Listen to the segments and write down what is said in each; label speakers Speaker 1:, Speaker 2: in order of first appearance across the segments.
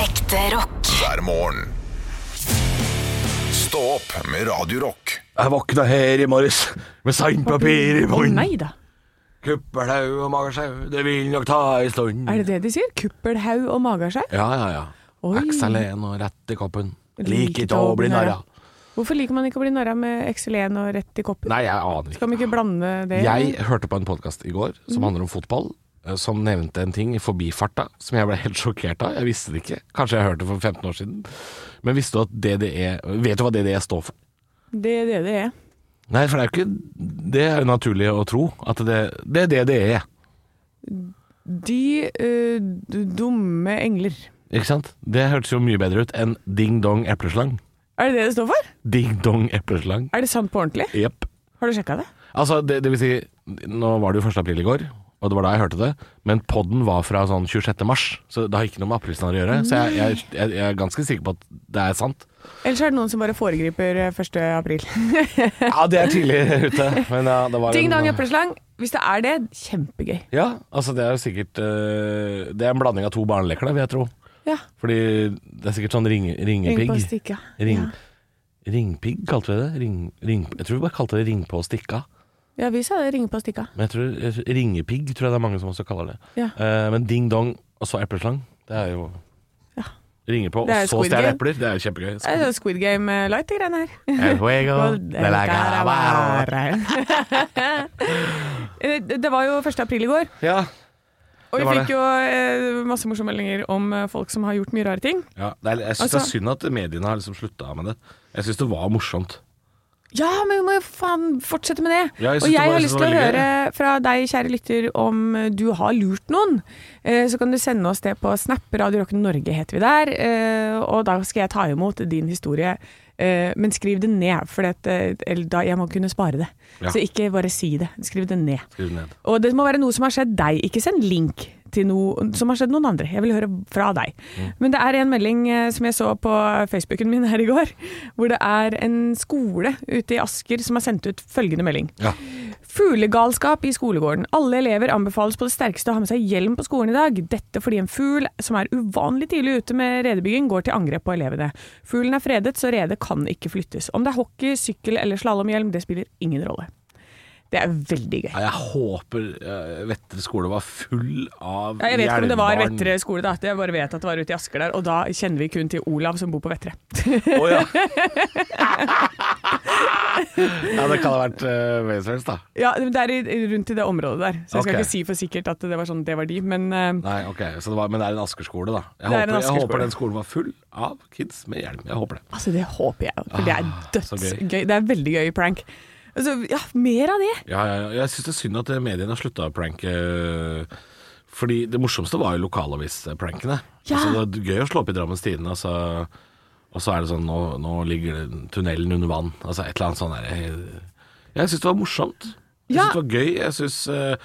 Speaker 1: Ekte rock.
Speaker 2: hver morgen. Stå opp med Radio Rock.
Speaker 3: Jeg våkna her i morges med sandpapir i
Speaker 4: Å
Speaker 3: munnen.
Speaker 4: nei da.
Speaker 3: Kuppelhaug og magesjau, det vil nok ta ei stund.
Speaker 4: Er det det de sier? Kuppelhaug og magasjau?
Speaker 3: Ja, ja, ja.
Speaker 4: Oi.
Speaker 3: XLN og rett i koppen.
Speaker 4: Liker
Speaker 3: Liker ikke å bli narra.
Speaker 4: Hvorfor liker man ikke å bli narra med XLN og rett i koppen?
Speaker 3: Nei, jeg aner ikke.
Speaker 4: Skal man ikke Mm. blande det?
Speaker 3: Jeg hørte på en podkast i går som handler om fotball, eh, som nevnte en ting i forbifarta som jeg ble helt sjokkert av. Jeg visste det ikke. Kanskje jeg hørte det for 15 år siden. Men visste du at DDE Vet du hva DDE står for?
Speaker 4: Det er det det er.
Speaker 3: Nei, for det er jo ikke Det er jo naturlig å tro at det, det er DDE.
Speaker 4: De eh, d- dumme engler.
Speaker 3: Ikke sant? Det hørtes jo mye bedre ut enn Ding Dong Epleslang.
Speaker 4: Er det det det står for?
Speaker 3: Ding Dong Epleslang.
Speaker 4: Er det sant på ordentlig?
Speaker 3: Jepp.
Speaker 4: Har du sjekka det?
Speaker 3: Altså, det, det vil si Nå var det jo 1. april i går, og det var da jeg hørte det. Men podden var fra sånn 26. mars, så det har ikke noe med aprilsnarr å gjøre. Så jeg, jeg, jeg, jeg er ganske sikker på at det er sant.
Speaker 4: Ellers er det noen som bare foregriper eh, 1. april.
Speaker 3: Ja, det er tidlig ute, men ja, det var
Speaker 4: Ding dang
Speaker 3: en,
Speaker 4: epleslang. Hvis det er det, kjempegøy.
Speaker 3: Ja, altså det er jo sikkert eh, Det er en blanding av to barneleker, da, vil jeg tro.
Speaker 4: Ja.
Speaker 3: Fordi det er sikkert sånn ringe,
Speaker 4: Ring
Speaker 3: ringepigg.
Speaker 4: på stikka.
Speaker 3: Ring,
Speaker 4: Ja.
Speaker 3: Ringpigg kalte vi det. Ring, ring, jeg tror vi bare kalte det ring på og stikka.
Speaker 4: ja, vi sa det. Ringe på stikka.
Speaker 3: Men jeg tror, jeg tror- Ringepigg tror jeg det er mange som også kaller det.
Speaker 4: Ja.
Speaker 3: Eh, men ding dong og så epleslang, det er jo
Speaker 4: Ja.
Speaker 3: Ringer på, og
Speaker 4: Det er
Speaker 3: så
Speaker 4: Squid
Speaker 3: stjeler
Speaker 4: Game.
Speaker 3: epler. Det er jo kjempegøy.
Speaker 4: Det er jo Squid Game eh, light, de greiene her.
Speaker 3: El juego de la caravana.
Speaker 4: Eh, Det var jo 1. april i går,
Speaker 3: Ja.
Speaker 4: og
Speaker 3: Det
Speaker 4: vi
Speaker 3: var
Speaker 4: fikk
Speaker 3: det.
Speaker 4: jo eh, masse morsomme meldinger om eh, folk som har gjort mye rare ting.
Speaker 3: ja. Det er, jeg syns det
Speaker 4: Altså-
Speaker 3: er synd at mediene har liksom slutta med det. Jeg syns det var morsomt.
Speaker 4: Ja, men vi må jo faen fortsette med det!
Speaker 3: Ja, jeg synes
Speaker 4: og
Speaker 3: det
Speaker 4: jeg
Speaker 3: var-
Speaker 4: har
Speaker 3: jeg
Speaker 4: lyst
Speaker 3: synes
Speaker 4: til
Speaker 3: det
Speaker 4: å
Speaker 3: var veldig
Speaker 4: høre fra deg, kjære lytter, om eh, du har lurt noen. Eh, Så kan du sende oss det på Snap, Radio Rock Norge heter vi der. eh, Og da skal jeg ta imot din historie. Eh, Men skriv det ned, for eh, da jeg må kunne spare det.
Speaker 3: Ja.
Speaker 4: Så ikke bare si det. Skriv det ned.
Speaker 3: Skriv det ned.
Speaker 4: Og det må være noe som har skjedd deg. Ikke send link til noe som har skjedd noen andre. Jeg vil høre fra deg. Men det er en melding eh, som jeg så på Facebooken min her i går, hvor det er en skole ute i Asker som har sendt ut følgende melding.
Speaker 3: Ja.
Speaker 4: Fuglegalskap i skolegården. Alle elever anbefales på det sterkeste å ha med seg hjelm på skolen i dag. Dette fordi en fugl som er uvanlig tidlig ute med redebygging, går til angrep på elevene. Fuglen er fredet, så redet kan ikke flyttes. Om det er hockey, sykkel eller slalåmhjelm, det spiller ingen rolle. Det er veldig gøy.
Speaker 3: Ja, Jeg håper eh, Vettre skole var full av
Speaker 4: Ja, jeg vet ikke om det var
Speaker 3: hjelmbarn.
Speaker 4: Vettre skole, da. Jeg bare vet at det var ute i Asker der, og da kjenner vi kun til Olav som bor på Vettre.
Speaker 3: Å ja. ja, det kan ha vært uh, Wazers, da.
Speaker 4: Ja, det er i- rundt i det området der, så jeg skal
Speaker 3: Ok.
Speaker 4: ikke si for sikkert at det var sånn det var de, men eh,
Speaker 3: Nei, ok, så det var, Men det er en Asker-skole, da. Jeg,
Speaker 4: Det
Speaker 3: håper,
Speaker 4: er en
Speaker 3: jeg
Speaker 4: Asker-skole.
Speaker 3: håper den skolen var full av kids med hjelm. Jeg håper det.
Speaker 4: altså det håper jeg, for det
Speaker 3: Ah,
Speaker 4: er
Speaker 3: så gøy.
Speaker 4: dødsgøy. Det er veldig gøy prank. Altså, ja, mer av det!
Speaker 3: Ja, ja, ja. Jeg syns det er synd at eh, mediene har slutta å pranke. eh, Fordi det morsomste var jo lokalavis-prankene.
Speaker 4: Ja.
Speaker 3: Altså, det var gøy å slå opp i Drammens Tidende, og så- og så er det sånn nå, nå ligger det- tunnelen under vann. Altså et eller annet sånn der. eh, Jeg syns det var morsomt. Jeg
Speaker 4: Ja.
Speaker 3: syns det var gøy. Jeg syns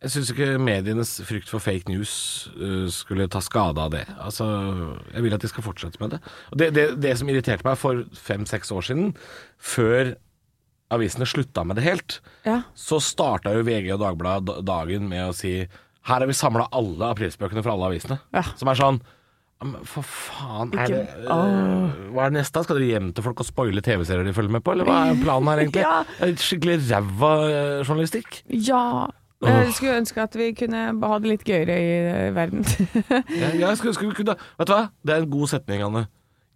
Speaker 3: jeg syns ikke medienes frykt for fake news eh, skulle ta skade av det. Altså, Jeg vil at de skal fortsette med det. Og det, det, det som irriterte meg for fem-seks år siden, før avisene slutta med det helt,
Speaker 4: Ja.
Speaker 3: så starta jo VG og Dagbladet da- dagen med å si her har vi samla alle aprilspøkene fra alle avisene.
Speaker 4: Ja.
Speaker 3: Som er sånn «Men For faen, er
Speaker 4: Ikke-
Speaker 3: det, øh, hva er det neste? da? Skal dere hjem til folk og spoile TV-serier de følger med på, eller hva er planen her egentlig?
Speaker 4: Ja.
Speaker 3: Det er Skikkelig ræva øh, journalistikk.
Speaker 4: Ja. Jeg skulle ønske at vi kunne ha det litt gøyere i eh, verden.
Speaker 3: Jeg, jeg skulle ønske vi kunne Vet du hva? Det er en god setning, Anne.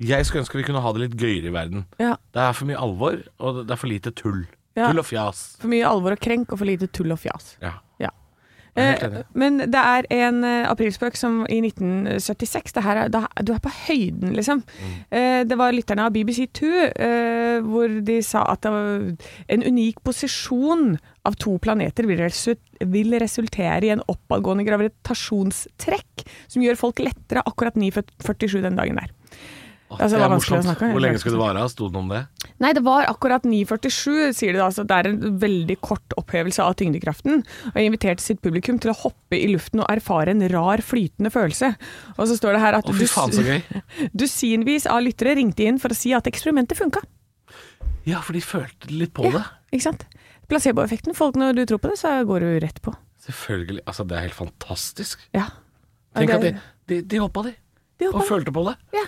Speaker 3: Jeg skulle ønske vi kunne ha det litt gøyere i verden.
Speaker 4: ja.
Speaker 3: Det er for mye alvor, og det er for lite tull.
Speaker 4: Ja.
Speaker 3: Tull og fjas.
Speaker 4: For mye alvor og krenk, og for lite tull og fjas.
Speaker 3: Ja.
Speaker 4: Ja.
Speaker 3: Jeg er helt enig.
Speaker 4: Eh, Men det er en eh, aprilspøk som i 1976 det her er, da, Du er på høyden, liksom.
Speaker 3: Mm.
Speaker 4: Eh, det var lytterne av BBC2 eh, hvor de sa at det var en unik posisjon av to planeter vil, resu vil resultere i en oppadgående gravitasjonstrekk som gjør folk lettere akkurat 9.47 den dagen der.
Speaker 3: Åh,
Speaker 4: Altså, det
Speaker 3: det
Speaker 4: var
Speaker 3: er
Speaker 4: vanskelig å
Speaker 3: morsomt.
Speaker 4: snakke om.
Speaker 3: Hvor lenge skulle det vare? Sto det noe om det?
Speaker 4: Nei, det var akkurat 9.47, sier de da. Så det er en veldig kort opphevelse av tyngdekraften. Og jeg inviterte sitt publikum til å hoppe i luften og erfare en rar, flytende følelse. Og så står det her at
Speaker 3: Å, fy faen, så gøy.
Speaker 4: dusinvis av lyttere ringte inn for å si at eksperimentet funka.
Speaker 3: Ja, for de følte litt på det.
Speaker 4: Ikke sant? Placeboeffekten. Folk, når du tror på det, så går du rett på.
Speaker 3: Selvfølgelig. Altså, det er helt fantastisk.
Speaker 4: Ja.
Speaker 3: Tenk
Speaker 4: det-
Speaker 3: at de, de, de hoppa, de.
Speaker 4: De
Speaker 3: og
Speaker 4: hoppa ned.
Speaker 3: følte på det.
Speaker 4: Ja.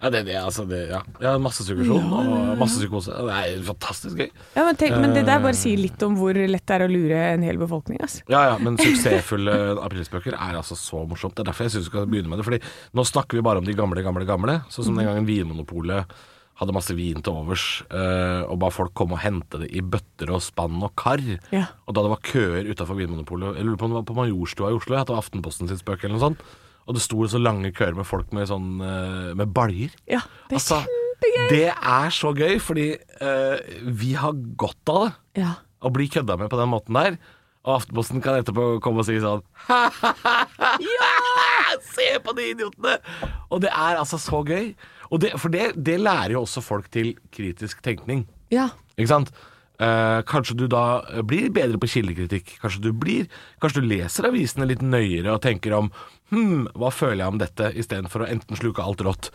Speaker 3: Ja, det, det, altså, det, ja. ja masse suggesjon og masse psykose. Det er fantastisk gøy.
Speaker 4: Ja, men, tenk, men det der bare sier litt om hvor lett det er å lure en hel befolkning, altså.
Speaker 3: Ja, ja, men suksessfulle aprilspøker er altså så morsomt. Det er derfor jeg syns vi skal begynne med det. Fordi nå snakker vi bare om de gamle, gamle, gamle. Sånn som den
Speaker 4: Mhm.
Speaker 3: gangen Vinmonopolet hadde masse vin til overs, eh, og ba folk komme og hente det i bøtter og spann og kar.
Speaker 4: Ja.
Speaker 3: Og da det var køer utafor Vinmonopolet Jeg lurer på om det var på Majorstua i Oslo, jeg, at det var Aftenposten sin spøk eller noe sånt. Og det sto så lange køer med folk med sånn eh, med baljer.
Speaker 4: Ja, det er
Speaker 3: Altså,
Speaker 4: kjempegøy.
Speaker 3: Det er så gøy, fordi eh, vi har godt av det
Speaker 4: Ja.
Speaker 3: å bli kødda med på den måten der. Og Aftenposten kan etterpå komme og si sånn Se på de idiotene! Og det er altså så gøy. Og det, for det, det lærer jo også folk til kritisk tenkning.
Speaker 4: Ja.
Speaker 3: Ikke sant? Eh, kanskje du da blir bedre på kildekritikk. Kanskje du blir Kanskje du leser avisene litt nøyere og tenker om Hm, hva føler jeg om dette? Istedenfor å enten sluke alt rått,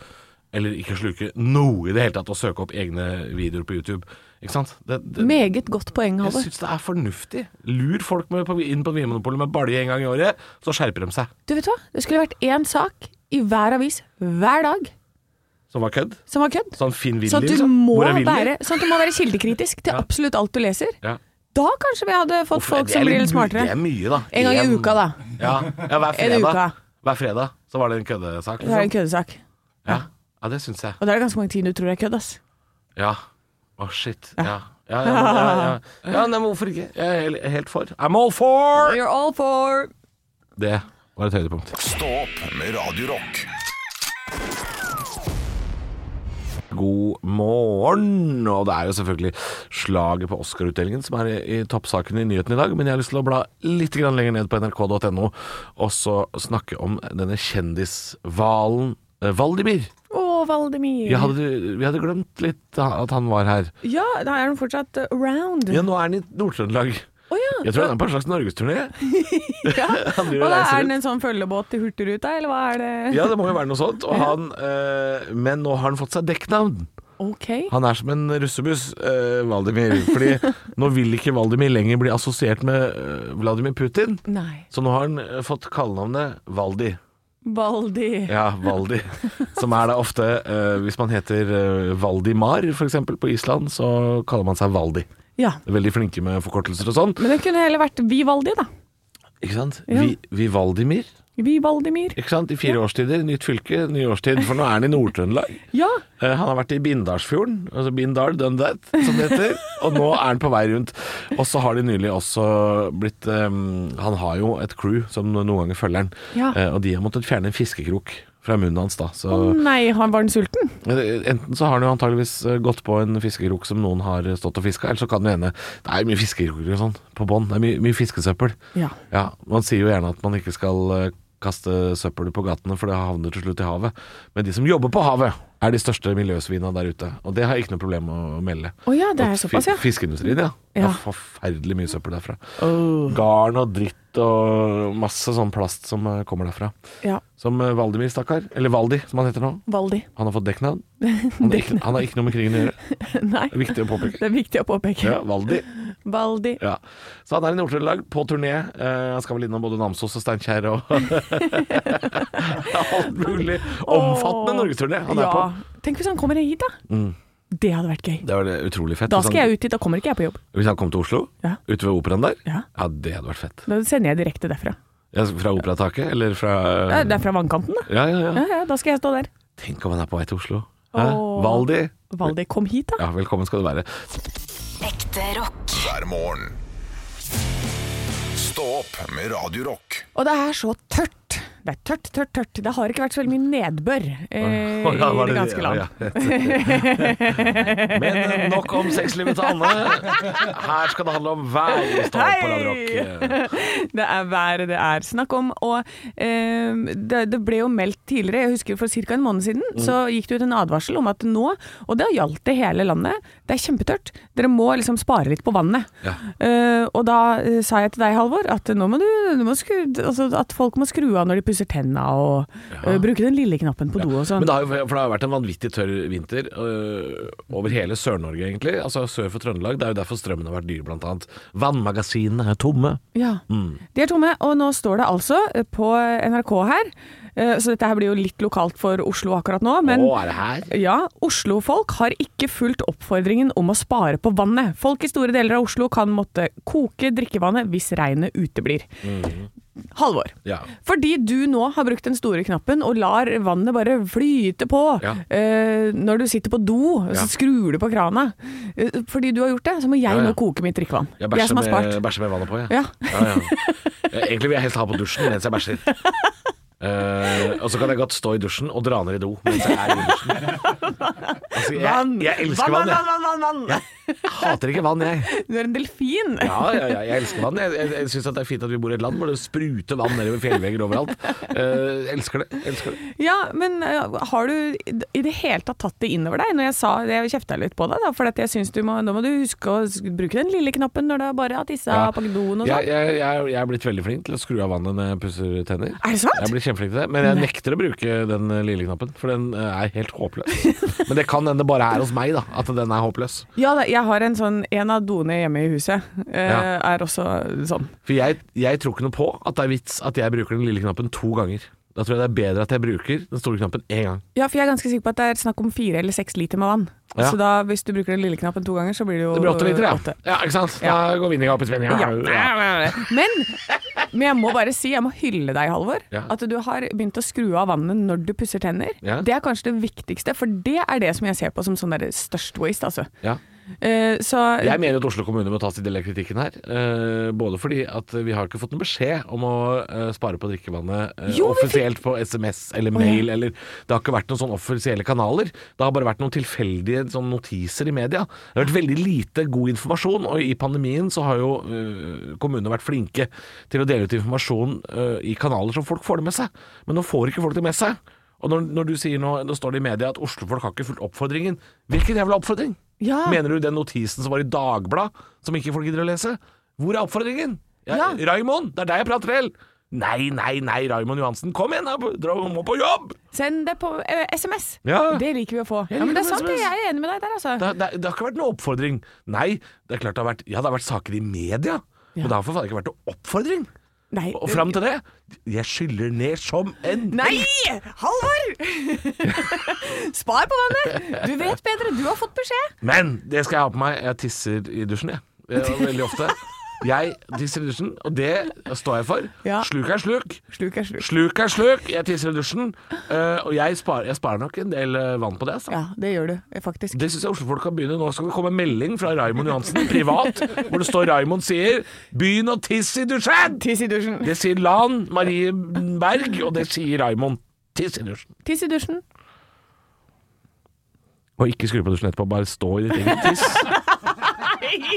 Speaker 3: eller ikke sluke noe i det hele tatt, og søke opp egne videoer på YouTube. Ikke sant? Det, det,
Speaker 4: Meget godt poeng,
Speaker 3: jeg
Speaker 4: Halvor.
Speaker 3: syns det er fornuftig. Lur folk med, på, inn på Vinmonopolet med balje en gang i året, så skjerper de seg.
Speaker 4: Du vet hva? Det skulle vært én sak i hver avis hver dag
Speaker 3: Som var kødd.
Speaker 4: som var kødd.
Speaker 3: Sånn Finn Willy,
Speaker 4: Sånn at, du
Speaker 3: liksom.
Speaker 4: må
Speaker 3: Hvor er Willy?
Speaker 4: være, sånn at du må være kildekritisk til absolutt alt du leser.
Speaker 3: Ja.
Speaker 4: Da kanskje vi hadde fått
Speaker 3: Uff,
Speaker 4: folk
Speaker 3: det er
Speaker 4: som
Speaker 3: litt
Speaker 4: blir litt
Speaker 3: mye- Det
Speaker 4: smartere.
Speaker 3: er mye, da.
Speaker 4: En gang i
Speaker 3: En-
Speaker 4: uka, da.
Speaker 3: Ja, ja hver
Speaker 4: En uke.
Speaker 3: fredag. Hver fredag så var det en køddesak.
Speaker 4: Det er en
Speaker 3: Liksom.
Speaker 4: køddesak.
Speaker 3: Ja. ja, det syns jeg.
Speaker 4: Og da er det ganske mange ting du tror er kødd, ass.
Speaker 3: Ja. Å, shit. Ja. Ja, ja, men- ja, ja. ja nei, men hvorfor ikke? Jeg er helt- helt for. I'm all for!
Speaker 4: You're all for
Speaker 3: Det var et høydepunkt.
Speaker 2: Stå opp med Radio Rock.
Speaker 3: God morgen! Og det er jo selvfølgelig slaget på Oscar-utdelingen som er i, i toppsaken i nyheten i dag, men jeg har lyst til å bla litt grann lenger ned på nrk.no og så snakke om denne kjendishvalen eh, Valdimir.
Speaker 4: Å, Valdemir.
Speaker 3: Jeg hadde, vi hadde glemt litt at han var her.
Speaker 4: Ja, da er den fortsatt uh, around. Å
Speaker 3: Ja, nå er han i Nord-Trøndelag.
Speaker 4: ja.
Speaker 3: Jeg tror han er på en slags norgesturné.
Speaker 4: ja.
Speaker 3: Han driver
Speaker 4: Og
Speaker 3: og
Speaker 4: da
Speaker 3: reiser
Speaker 4: er
Speaker 3: rundt.
Speaker 4: den en sånn følgebåt til Hurtigruta, eller hva er det?
Speaker 3: Ja, det må jo være noe sånt. Og han, eh, men nå har han fått seg dekknavn.
Speaker 4: Ok.
Speaker 3: Han er som en russebuss, eh, Valdimir. Fordi nå vil ikke Valdimir lenger bli assosiert med eh, Vladimir Putin.
Speaker 4: Nei.
Speaker 3: Så nå har han eh, fått kallenavnet Valdi.
Speaker 4: Baldi.
Speaker 3: Ja, Valdi. Som er da ofte eh, Hvis man heter eh, Valdimar, f.eks. på Island, så kaller man seg Valdi.
Speaker 4: Ja.
Speaker 3: Veldig flinke med forkortelser og sånn.
Speaker 4: Men det kunne heller vært Vivaldi, da.
Speaker 3: Ikke sant?
Speaker 4: Ja.
Speaker 3: Vi, vi Valdimir.
Speaker 4: Vivaldimir.
Speaker 3: Ikke sant? I fire årstider. Nytt fylke, ny årstid. For nå er han i Nord-Trøndelag.
Speaker 4: Ja.
Speaker 3: Eh, Han har vært i Bindalsfjorden, altså Bindal, done that, som det heter. Og nå er han på vei rundt. Og så har de nylig også blitt eh, Han har jo et crew som noen ganger følger han.
Speaker 4: Ja.
Speaker 3: Eh, og de har måttet fjerne en fiskekrok fra munnen hans, da. Så
Speaker 4: Å nei, han var den sulten?
Speaker 3: eh, enten så har han jo antageligvis eh, gått på en fiskekrok som noen har eh, stått og fiska, eller så kan det hende Det er jo mye fiskekroker og sånn på bånn. Det er mye, mye fiskesøppel.
Speaker 4: Ja.
Speaker 3: Ja, Man sier jo gjerne at man ikke skal eh, kaste søppel på gatene, for det havner til slutt i havet. Men de som jobber på havet, er de største miljøsvina der ute. Og det har jeg ikke noe problem med å melde.
Speaker 4: Å ja, det er
Speaker 3: At fi-
Speaker 4: såpass, ja.
Speaker 3: Fiskeindustrien, ja. Det
Speaker 4: Ja.
Speaker 3: er forferdelig mye søppel derfra. Garn og dritt og masse sånn plast som eh, kommer derfra.
Speaker 4: ja.
Speaker 3: Som eh, Valdimir, stakkar. Eller Valdi, som han heter nå.
Speaker 4: Valdi.
Speaker 3: Han har fått dekknavn. Han, har ikke- han har ikke noe med krigen å gjøre.
Speaker 4: Nei.
Speaker 3: Det er viktig å påpeke.
Speaker 4: Det er viktig å påpeke.
Speaker 3: Ja, Valdi.
Speaker 4: Valdi.
Speaker 3: Ja. Så han er i Nord-Trøndelag på turné. Eh, han skal vel innom både Namsos og Steinkjer og alt mulig. Omfattende
Speaker 4: Åh.
Speaker 3: norgesturné han er
Speaker 4: ja.
Speaker 3: på. Mm.
Speaker 4: Tenk hvis han kommer hit, da. Det hadde vært gøy.
Speaker 3: Det var det utrolig fett.
Speaker 4: Da skal jeg ut dit, da kommer ikke jeg på jobb.
Speaker 3: Hvis han kom til Oslo,
Speaker 4: Ja.
Speaker 3: ute ved operaen der,
Speaker 4: Ja.
Speaker 3: ja, det hadde vært fett.
Speaker 4: Da sender jeg direkte derfra.
Speaker 3: Ja, fra operataket, eller fra
Speaker 4: Ja, Det er fra vannkanten, da.
Speaker 3: Ja, ja, ja.
Speaker 4: Ja, ja, da skal jeg stå der.
Speaker 3: Tenk om han er på vei til Oslo. Hæ?
Speaker 4: Åh.
Speaker 3: Valdi.
Speaker 4: Valdi, kom hit, da.
Speaker 3: Ja, velkommen skal du være.
Speaker 1: Ekte rock.
Speaker 2: hver morgen. Stå opp med Radio Rock.
Speaker 4: Og det er så tørt. Det er tørt, tørt, tørt. Det har ikke vært så veldig mye nedbør eh,
Speaker 3: Å, ja, var
Speaker 4: i det
Speaker 3: det-
Speaker 4: ganske land.
Speaker 3: ja, ja. Men eh, nok om sexlivet til Anne. Her skal det handle om vær i Stå opp på Radio Rock. Eh,
Speaker 4: Det er været det er snakk om. Og eh, det, det ble jo meldt tidligere, jeg husker for ca. en måned siden,
Speaker 3: Mm.
Speaker 4: så gikk det ut en advarsel om at nå, og det gjaldt det hele landet, det er kjempetørt. Dere må liksom spare litt på vannet.
Speaker 3: Ja.
Speaker 4: Eh, og da eh, sa jeg til deg, Halvor, at nå må du, du må skru, altså, at folk må skru av når de pusser tenna og øh, bruker den lille knappen på do og sånn.
Speaker 3: Men det har, jo, for det har jo vært en vanvittig tørr vinter øh, over hele Sør-Norge, egentlig. Altså sør for Trøndelag. Det er jo derfor strømmen har vært dyr, blant annet. Vannmagasinene er tomme.
Speaker 4: Ja,
Speaker 3: Mm.
Speaker 4: De er tomme, og nå står det altså eh, på NRK her, eh, så dette her blir jo litt lokalt for Oslo akkurat nå, men
Speaker 3: Å, er det her?
Speaker 4: ja, Oslo-folk har ikke fulgt oppfordringen om å spare på vannet. Folk i store deler av Oslo kan måtte koke drikkevannet hvis regnet uteblir.
Speaker 3: Mhm.
Speaker 4: Halvor,
Speaker 3: Ja.
Speaker 4: fordi du nå har brukt den store knappen og lar vannet bare flyte på
Speaker 3: Ja.
Speaker 4: eh, når du sitter på do,
Speaker 3: Ja.
Speaker 4: så skrur du på krana. Eh, fordi du har gjort det, så må
Speaker 3: Ja,
Speaker 4: jeg
Speaker 3: ja.
Speaker 4: nå koke mitt drikkevann.
Speaker 3: Jeg
Speaker 4: jeg
Speaker 3: bæsjer
Speaker 4: som har
Speaker 3: med,
Speaker 4: spart.
Speaker 3: bæsjer med vannet på, jeg.
Speaker 4: Ja.
Speaker 3: Ja, ja. Egentlig vil jeg helst ha på dusjen mens jeg bæsjer. Eh, og så kan jeg godt stå i dusjen og dra ned i do mens jeg er i dusjen. Altså, jeg,
Speaker 4: Vann.
Speaker 3: jeg elsker vann,
Speaker 4: vann,
Speaker 3: jeg.
Speaker 4: vann, vann, vann, vann.
Speaker 3: Hater ikke vann, jeg.
Speaker 4: Du er en delfin.
Speaker 3: Ja, ja, ja, jeg elsker vann. Jeg, jeg, jeg syns det er fint at vi bor i et land hvor det spruter vann nedover fjellvegger overalt. Eh, elsker det. Elsker det.
Speaker 4: Ja, men ø, har du i det hele tatt tatt det innover deg? Når jeg sa Jeg kjefta litt på deg, da, for at jeg syns du må Nå må du huske å s- bruke den lille knappen når du bare har tissa
Speaker 3: Ja.
Speaker 4: på doen og
Speaker 3: Jeg,
Speaker 4: sånn.
Speaker 3: jeg, jeg, jeg er blitt veldig flink til å skru av vannet når jeg pusser tenner.
Speaker 4: Er det sant?
Speaker 3: Jeg blir kjempeflink til det, men jeg nekter å bruke den eh, lille knappen, for den eh, er helt håpløs. Men det kan hende det bare er hos meg, da, at den er håpløs.
Speaker 4: Ja, da, jeg har en sånn En av doene hjemme i huset ø,
Speaker 3: Ja.
Speaker 4: er også sånn.
Speaker 3: For jeg, jeg tror ikke noe på at det er vits at jeg bruker den lille knappen to ganger. Da tror jeg det er bedre at jeg bruker den store knappen én gang.
Speaker 4: Ja, for jeg er ganske sikker på at det er snakk om fire eller seks liter med vann.
Speaker 3: Ja.
Speaker 4: Så da, hvis du bruker den lille knappen to ganger, så blir det jo
Speaker 3: Det blir åtte liter,
Speaker 4: ø,
Speaker 3: ja.
Speaker 4: åtte.
Speaker 3: ja ikke sant? Da går vinninga opp i spenning. Ja. Ja.
Speaker 4: Ja. Men, men jeg må bare si, jeg må hylle deg, Halvor.
Speaker 3: Ja.
Speaker 4: At du har begynt å skru av vannet når du pusser tenner.
Speaker 3: Ja.
Speaker 4: Det er kanskje det viktigste, for det er det som jeg ser på som sånn der størst waste, altså.
Speaker 3: Ja.
Speaker 4: Eh, så
Speaker 3: Jeg mener at Oslo kommune må ta sin del av kritikken her. eh, både fordi at vi har ikke fått en beskjed om å eh, spare på drikkevannet eh,
Speaker 4: Jo, vi
Speaker 3: offisielt på SMS eller mail eller Det har ikke vært noen sånne offisielle kanaler. Det har bare vært noen tilfeldige sånn notiser i media. Det har vært veldig lite god informasjon, og i pandemien så har jo eh, kommunene vært flinke til å dele ut informasjon eh, i kanaler som folk får det med seg. Men nå får ikke folk det med seg. Og når, når du sier nå, nå står det i media at Oslo-folk har ikke fulgt oppfordringen. Hvilken jævla oppfordring?
Speaker 4: Ja.
Speaker 3: Mener du den notisen som var i Dagbladet, som ikke folk gidder å lese? Hvor er oppfordringen? Jeg,
Speaker 4: Ja.
Speaker 3: Raimond, det er deg jeg prater til! Nei, nei, nei, Raimond Johansen, kom igjen, da! Dra må på jobb!
Speaker 4: send det på eh, SMS!
Speaker 3: Ja.
Speaker 4: Det liker vi å få.
Speaker 3: Jeg
Speaker 4: Ja, men
Speaker 3: liker
Speaker 4: det er sant,
Speaker 3: SMS.
Speaker 4: det. jeg er enig med deg der, altså.
Speaker 3: Det, det, det har ikke vært noen oppfordring. Nei, det er klart det har vært Ja, det har vært saker i media, men det har for faen ikke vært noen oppfordring.
Speaker 4: Nei.
Speaker 3: Og fram til det Jeg skyller ned som en
Speaker 4: Nei! Halvor! Spar på vannet! Du vet bedre, du har fått beskjed.
Speaker 3: Men det skal jeg ha på meg. Jeg tisser i dusjen, jeg. Eh, Veldig ofte. Jeg tisser i dusjen, og det står jeg for.
Speaker 4: Ja.
Speaker 3: Sluk er sluk.
Speaker 4: Sluk er sluk.
Speaker 3: Sluk er sluk. Jeg tisser i dusjen. eh, og jeg sparer, jeg sparer nok en del eh, vann på det. Altså.
Speaker 4: Ja, det gjør du, eh, faktisk.
Speaker 3: Det syns jeg Oslo-folk kan begynne. Nå skal det komme en melding fra Raimond Johansen privat, hvor det står Raimond sier 'begynn å tisse i dusjen'!
Speaker 4: Tiss i dusjen.
Speaker 3: Det sier Lan Marie Berg, og det sier Raimond. Tiss i dusjen.
Speaker 4: Tiss i dusjen.
Speaker 3: Og ikke skru på dusjen etterpå, bare stå i ditt eget tiss.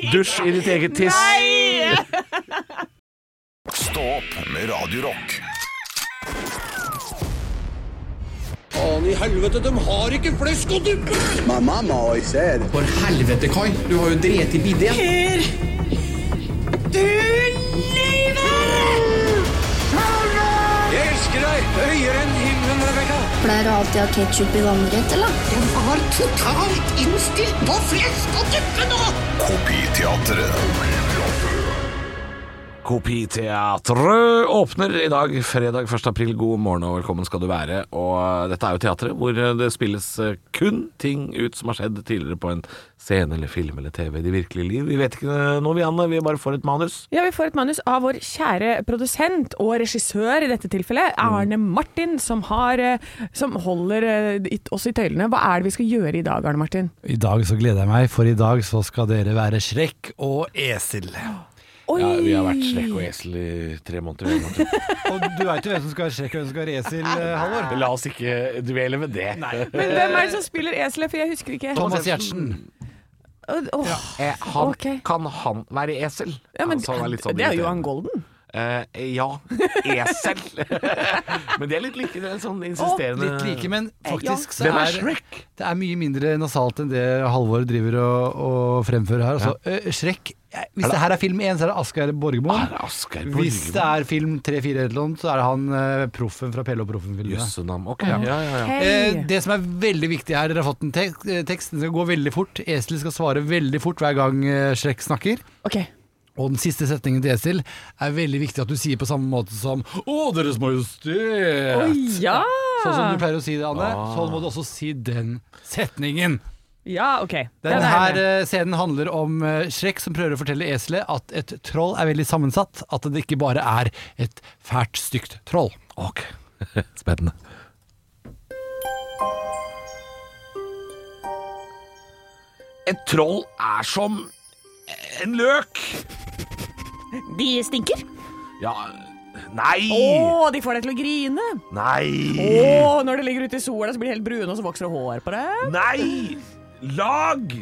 Speaker 3: Dusj i ditt eget tiss.
Speaker 2: Stå opp med Radio Rock.
Speaker 5: Faen i helvete, de har ikke flesk og duppe!
Speaker 6: My mama always said,
Speaker 5: For helvete, Kai. Du har jo drept i bidé. Jeg elsker deg høyere enn himmelen, Rebekka.
Speaker 7: Pleier du alltid å ha ketsjup i vannrett, eller?
Speaker 5: De var totalt innstilt på flesk og duppe nå!
Speaker 2: Kopiteatret.
Speaker 3: Kopiteatret åpner i dag, fredag 1. april. God morgen og velkommen skal du være. Og eh, dette er jo teatret hvor det spilles eh, kun ting ut som har skjedd tidligere på en scene eller film eller TV i det virkelige liv. Vi vet ikke eh, noe, vi Anne. Vi bare får et manus.
Speaker 4: Ja, Vi får et manus av vår kjære produsent og regissør i dette tilfellet,
Speaker 3: Mm.
Speaker 4: Arne Martin, som, har, eh, som holder eh, i- oss i tøylene. Hva er det vi skal gjøre i dag, Arne Martin?
Speaker 8: I dag så gleder jeg meg, for i dag så skal dere være Shrek og esel.
Speaker 4: Oi!
Speaker 3: Ja, vi har vært slekk og esel i tre måneder. vi, Martin.
Speaker 8: Og du veit jo hvem som skal være Shrek og hvem som skal være esel, eh, Halvor?
Speaker 3: La oss ikke dvele ved det.
Speaker 4: Men hvem er det som spiller eselet, for jeg husker ikke.
Speaker 8: Thomas Giertsen.
Speaker 4: Åh, åh.
Speaker 3: Eh, han,
Speaker 4: Ok.
Speaker 3: Kan han være esel?
Speaker 4: Ja, men,
Speaker 3: Han som er litt sånn
Speaker 4: det er jo
Speaker 3: irriterende.
Speaker 4: han Golden.
Speaker 3: Eh, ja, esel. Men det er litt like det er sånn insisterende
Speaker 8: Litt like, men faktisk så
Speaker 3: Hvem er
Speaker 8: Eh, er
Speaker 3: Shrek?
Speaker 8: det er mye mindre nasalt enn det Halvor driver og, og fremfører her. Altså, eh, Shrek eh, Hvis det, her er film én, så er det Asgeir Ah, Borgermoen.
Speaker 3: Er Ah, det Asgeir
Speaker 8: Hvis det
Speaker 3: Borgermoen?
Speaker 8: er film tre-fire eller noe, så er det han eh, proffen fra Pelle og Proffen-filmene.
Speaker 3: Jøssenam. Ok. Ja, ja, ja.
Speaker 8: Eh, det som er veldig viktig her, dere har fått en tek eh, tekst, den skal gå veldig fort. Esel skal svare veldig fort hver gang eh, Shrek snakker.
Speaker 4: Ok.
Speaker 8: Og den siste setningen til Esel er veldig viktig at du sier på samme måte som Å, Deres Majestet!
Speaker 4: Å ja!
Speaker 8: Sånn som du pleier å si det, Anne.
Speaker 3: Ah.
Speaker 8: Sånn må du også si den setningen.
Speaker 4: Ja, ok. Den
Speaker 8: Denne
Speaker 4: er
Speaker 8: her
Speaker 4: med.
Speaker 8: eh, scenen handler om eh, Shrek som prøver å fortelle eselet at et troll er veldig sammensatt. At det ikke bare er et fælt, stygt troll.
Speaker 3: Ok. Spennende. Et troll er som en løk.
Speaker 1: De stinker.
Speaker 3: Ja Nei!
Speaker 4: Å, de får deg til å grine! Å,
Speaker 3: Nei!
Speaker 4: når det ligger ute i sola, så blir de helt brune, og så vokser det hår på deg.
Speaker 3: Nei! Lag!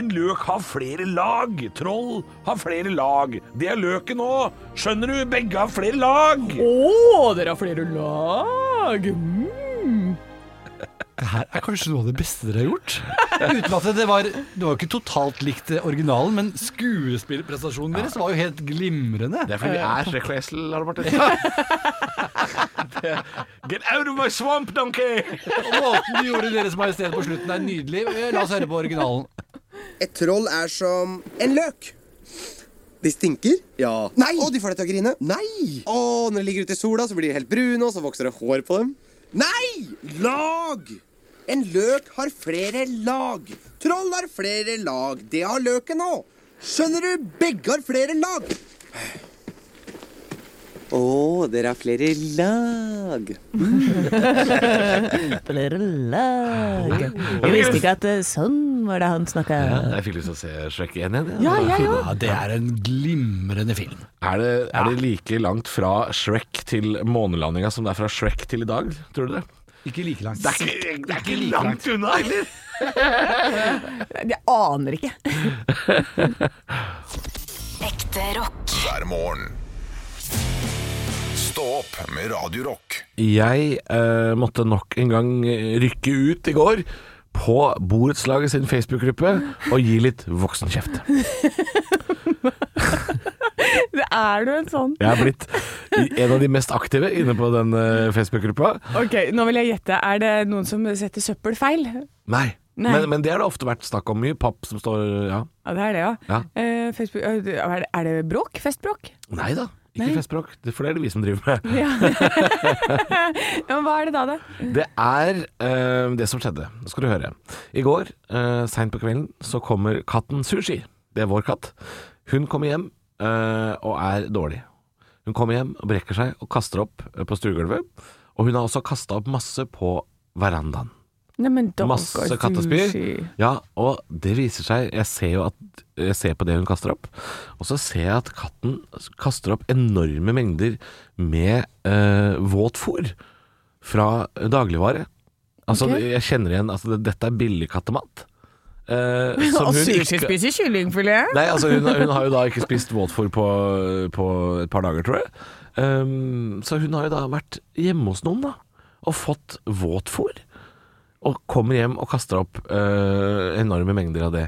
Speaker 3: En løk har flere lag. Troll har flere lag. Det er løken òg. Skjønner du? Begge har flere lag.
Speaker 4: Å, dere har flere lag! Mm.
Speaker 8: Det her er kanskje noe av det beste dere har gjort. Uten at det var Det var jo ikke totalt likt eh, originalen, men skuespillerprestasjonen deres var jo helt glimrende.
Speaker 3: Det er fordi vi er Shrek og Esel, Arne Martin. Get out of my swamp, donkey!
Speaker 8: Og måten de gjorde Deres Majestet på slutten, er nydelig. Eh, La oss høre på originalen.
Speaker 9: Et troll er som en løk.
Speaker 6: De stinker?
Speaker 9: Ja.
Speaker 6: Nei! Og de får deg til å grine?
Speaker 9: Nei!
Speaker 6: Å, når de ligger ute i sola, så blir de helt brune, og så vokser det hår på dem.
Speaker 9: Nei! Lag! En løk har flere lag. Troll har flere lag. Det har løken òg. Skjønner du? Begge har flere lag.
Speaker 6: Å, dere har flere lag.
Speaker 10: Flere lag. Jeg visste ikke at eh, sånn var det han snakka.
Speaker 3: Jeg fikk lyst til å se Shrek igjen. igjen.
Speaker 4: Ja, jeg òg.
Speaker 8: Ja, det er en glimrende film.
Speaker 3: Er, det, er det like langt fra Shrek til månelandinga som det er fra Shrek til i dag, tror du det?
Speaker 8: Ikke like langt.
Speaker 3: Det er ikke, det er ikke langt unna heller!
Speaker 4: Jeg aner ikke.
Speaker 1: Ekte rock.
Speaker 2: hver morgen. Stå opp med Radio Rock.
Speaker 3: Jeg eh, måtte nok en gang eh, rykke ut i går på borettslaget sin Facebook-gruppe og gi litt voksenkjeft.
Speaker 4: Er du en sånn?
Speaker 3: Jeg er blitt en av de mest aktive inne på den eh, Facebook-gruppa.
Speaker 4: Ok, nå vil jeg gjette. Er det noen som setter søppel feil?
Speaker 3: Nei.
Speaker 4: Nei.
Speaker 3: Men, men det har det ofte vært snakk om. Mye papp som står Ja.
Speaker 4: Ja, det er det, ja.
Speaker 3: Ja.
Speaker 4: Eh, Facebook, eh, er, det, er det bråk? Festbråk?
Speaker 3: Nei da. Ikke festspråk, det- for det er det vi som driver med.
Speaker 4: Ja. ja, men hva er det da, da?
Speaker 3: Det er eh, det som skjedde. Nå skal du høre. I går, uh, seint på kvelden, så kommer katten Sushi. Det er vår katt. Hun kommer hjem eh, og er dårlig. Hun kommer hjem og brekker seg og kaster opp eh, på stuegulvet. Og hun har også kasta opp masse på verandaen.
Speaker 4: Nei, men da
Speaker 3: Masse
Speaker 4: går
Speaker 3: kattespyr.
Speaker 4: sushi.
Speaker 3: Ja, og det viser seg Jeg ser jo at Jeg ser på det hun kaster opp, og så ser jeg at katten kaster opp enorme mengder med eh, våt fôr fra dagligvare. Altså,
Speaker 4: Ok.
Speaker 3: jeg kjenner igjen Altså, det, dette er billigkattemat. Uh,
Speaker 4: Og sushi spiser kyllingfilet?
Speaker 3: Nei, altså hun, hun har jo da ikke spist våtfôr på, på et par dager, tror jeg. Ehm, så hun har jo da vært hjemme hos noen, da, og fått våtfôr. Og kommer hjem og kaster opp eh, enorme mengder av det.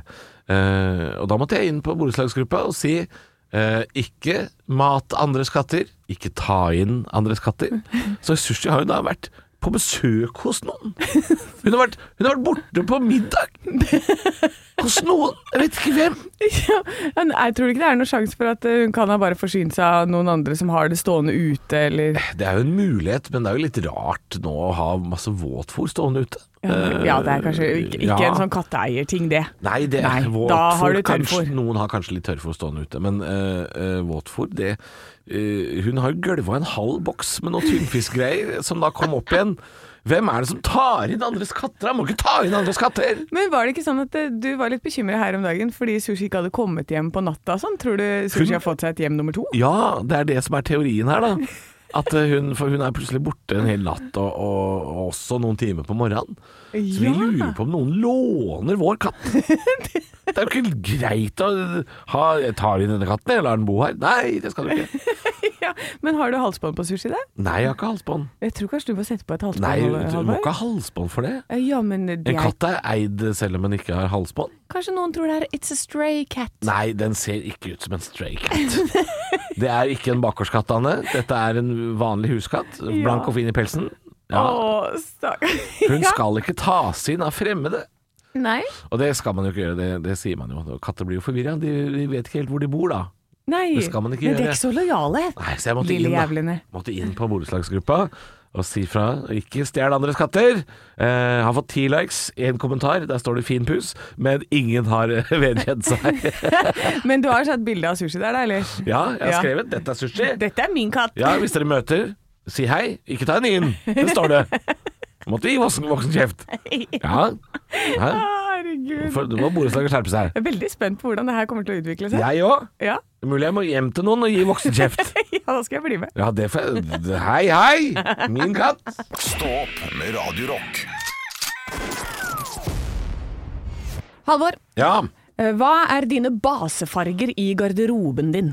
Speaker 3: Eh, og da måtte jeg inn på borettslagsgruppa og si eh, ikke mat andres katter, ikke ta inn andres katter. Så Sushi har jo da vært på besøk hos noen. Hun har vært, hun har vært borte på middag hos noen. Jeg vet ikke hvem.
Speaker 4: Ja, men jeg tror ikke det er noen sjanse for at eh, hun kan ha bare forsynt seg av noen andre som har det stående ute, eller
Speaker 3: Det er jo en mulighet, men det er jo litt rart nå å ha masse våtfôr stående ute. Eh,
Speaker 4: Ja, det er kanskje ikke, ikke
Speaker 3: ja.
Speaker 4: en sånn katteeierting, det.
Speaker 3: Nei, det
Speaker 4: Nei,
Speaker 3: er
Speaker 4: da
Speaker 3: våtfôr.
Speaker 4: har du tørrfôr.
Speaker 3: Kanskje, noen har kanskje litt tørrfôr stående ute, men eh, eh, våtfôr det eh, Hun har jo gølva en halv boks med noe tynnfiskgreier som da kom opp igjen. Hvem er det som tar inn andres katter? Han må ikke ta inn andres katter!
Speaker 4: Men var det ikke sånn at eh, du var litt bekymra her om dagen fordi sushi ikke hadde kommet hjem på natta og sånn? Tror du sushi
Speaker 3: Hun-
Speaker 4: har fått seg et hjem nummer to?
Speaker 3: Ja, det er det som er teorien her, da. At eh, hun, for hun er plutselig borte en hel natt, og, og, og også noen timer på morgenen. Så vi
Speaker 4: Ja.
Speaker 3: lurer på om noen låner vår katt. Det er jo ikke greit å ha Jeg tar inn denne katten, jeg lar den bo her. Nei, det skal du ikke.
Speaker 4: Ja, ja. Men har du halsbånd på sushi, da?
Speaker 3: Nei, jeg har ikke halsbånd.
Speaker 4: Jeg tror kanskje du må sette på et halsbånd.
Speaker 3: Nei, du
Speaker 4: Halvard.
Speaker 3: må ikke ha halsbånd for det.
Speaker 4: Ja, men det
Speaker 3: En
Speaker 4: er,
Speaker 3: katt er eid selv om den ikke har halsbånd.
Speaker 4: kanskje noen tror det er It's a stray cat.
Speaker 3: Nei, den ser ikke ut som en stray cat. Det er ikke en bakgårdskatt, Anne. Dette er en vanlig huskatt. Blank og fin i pelsen. Ja.
Speaker 4: Å, stakkar.
Speaker 3: Hun skal ikke tas inn av fremmede.
Speaker 4: Nei.
Speaker 3: Og det skal man jo ikke gjøre, det, det sier man jo. Katter blir jo forvirra, de, de vet ikke helt hvor de bor da.
Speaker 4: Nei.
Speaker 3: Det skal man ikke
Speaker 10: Men de er
Speaker 3: gjøre.
Speaker 10: ikke så lojale.
Speaker 3: Nei, så jeg måtte
Speaker 4: Lille
Speaker 3: inn, da.
Speaker 4: jævlene.
Speaker 3: måtte inn på borettslagsgruppa og si fra. Ikke stjel andres katter. Eh, har fått ti likes, én kommentar, der står det 'fin pus', men ingen har eh, vedkjent seg.
Speaker 4: Men du har sett bilde av sushi der, da, eller?
Speaker 3: Ja, jeg har
Speaker 4: Ja.
Speaker 3: skrevet 'dette er sushi'.
Speaker 4: Dette er min katt.
Speaker 3: Ja, hvis dere møter, si hei. Ikke ta en inn. Det står det. Måtte gi voksen, voksen kjeft. Ja. Hæ?
Speaker 4: Herregud.
Speaker 3: For, nå må borettslaget skjerpe seg.
Speaker 4: Jeg er veldig spent på hvordan det her kommer til å utvikle seg.
Speaker 3: Jeg òg.
Speaker 4: Ja.
Speaker 3: Mulig jeg må hjem til noen og gi voksen kjeft.
Speaker 4: ja, da skal jeg bli med.
Speaker 3: Ja, det får jeg Hei, hei! Min katt.
Speaker 2: Stå opp med Radio Rock.
Speaker 10: Halvor,
Speaker 3: Ja.
Speaker 10: eh, hva er dine basefarger i garderoben din?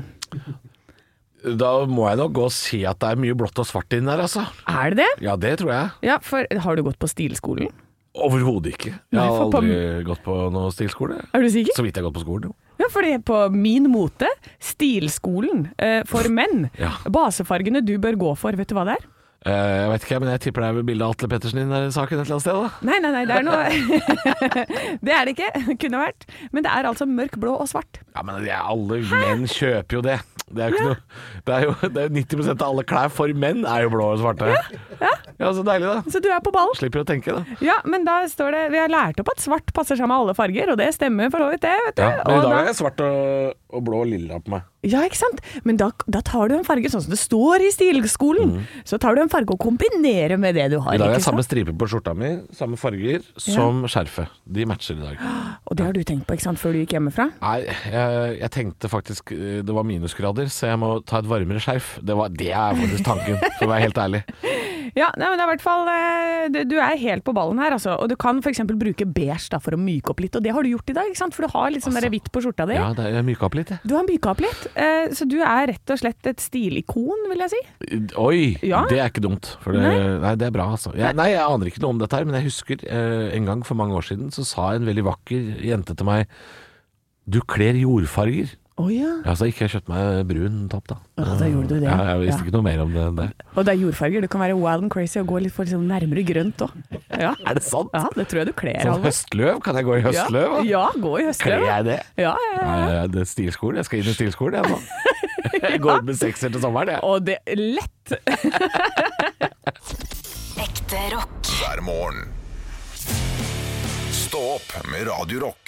Speaker 3: Da må jeg nok gå og si at det er mye blått og svart inn der, altså.
Speaker 4: Er det det?
Speaker 3: Ja, det tror jeg.
Speaker 4: Ja, for har du gått på stilskolen?
Speaker 3: Overhodet ikke. Jeg
Speaker 4: Nei,
Speaker 3: har
Speaker 4: for på-
Speaker 3: aldri gått på noen stilskole.
Speaker 4: Er du sikker?
Speaker 3: Så vidt jeg har gått på skolen, jo.
Speaker 4: Ja, for det er på min mote, stilskolen eh, for menn.
Speaker 3: Ja.
Speaker 4: Basefargene du bør gå for, vet du hva det er?
Speaker 3: Eh, jeg vet ikke, men jeg tipper det er med bildet av Atle Pettersen i den der saken et eller annet sted, da.
Speaker 4: Nei, nei, nei, det er noe Det er det ikke. Kunne vært. Men det er altså mørk, blå og svart.
Speaker 3: Ja, men det er alle menn kjøper jo det. Det er jo ikke noe Det er jo det er jo 90 av alle klær for menn er jo blå og svarte. Ja, så deilig, da.
Speaker 4: Så du er på ballen.
Speaker 3: Slipper å tenke, da.
Speaker 4: Ja, men da står det Vi har lært opp at svart passer sammen med alle farger, og det stemmer for så vidt, det. vet du.
Speaker 3: Ja, men i
Speaker 4: Og
Speaker 3: dag
Speaker 4: da-
Speaker 3: er jeg svart og, og blå og lilla på meg.
Speaker 4: Ja, ikke sant? Men da, da tar du en farge sånn som det står i stilskolen. Så tar du en farge og kombinerer med det du har.
Speaker 3: I dag Mm. er
Speaker 4: ikke
Speaker 3: samme
Speaker 4: sant?
Speaker 3: stripe på skjorta mi, samme farger, som skjerfet. De matcher i dag.
Speaker 4: Og det har du tenkt på ikke sant, før du gikk hjemmefra?
Speaker 3: Nei, jeg, jeg tenkte faktisk eh, det var minusgrader, så jeg må ta et varmere skjerf. Det, var, det er faktisk tanken, for å være helt ærlig.
Speaker 4: Ja, nei, men det er i hvert fall eh, Du, du er helt på ballen her, altså. Og du kan f.eks. bruke beige da, for å myke opp litt, og det har du gjort i dag, ikke sant? For du har litt sånn der hvitt på skjorta di.
Speaker 3: Altså, Ja, det er, jeg myka opp litt, jeg.
Speaker 4: Du har myka opp litt, eh, så du er rett og slett et stilikon, vil jeg si.
Speaker 3: Oi,
Speaker 4: Ja.
Speaker 3: det er ikke dumt. For det, nei. det er bra, altså. Jeg, nei, jeg aner ikke noe om dette her, men jeg husker eh, en gang for mange år siden, så sa en veldig vakker jente til meg Du kler jordfarger.
Speaker 4: Å ja.
Speaker 3: Ja, så ikke jeg kjøpte meg brun topp, da.
Speaker 4: da gjorde du det.
Speaker 3: Ja, jeg visste
Speaker 4: Ja.
Speaker 3: ikke noe mer om det enn det.
Speaker 4: Og det er jordfarger. Du kan være wild and crazy og gå litt for sånn nærmere grønt òg. Ja.
Speaker 3: Er det sant?
Speaker 4: ja, det tror jeg du kler,
Speaker 3: Sånn
Speaker 4: Halvor.
Speaker 3: høstløv? Kan jeg gå i høstløv? da?
Speaker 4: Ja, ja, gå i høstløv.
Speaker 3: Kler
Speaker 4: da.
Speaker 3: jeg det?
Speaker 4: Ja, ja, ja.
Speaker 3: Nei, det er stilskolen. Jeg skal inn i stilskolen, jeg nå. Jeg går ut med sekser til sommeren, jeg.
Speaker 4: Og det lett.
Speaker 1: Ekte rock.
Speaker 2: hver morgen. Stå opp med Radio Rock.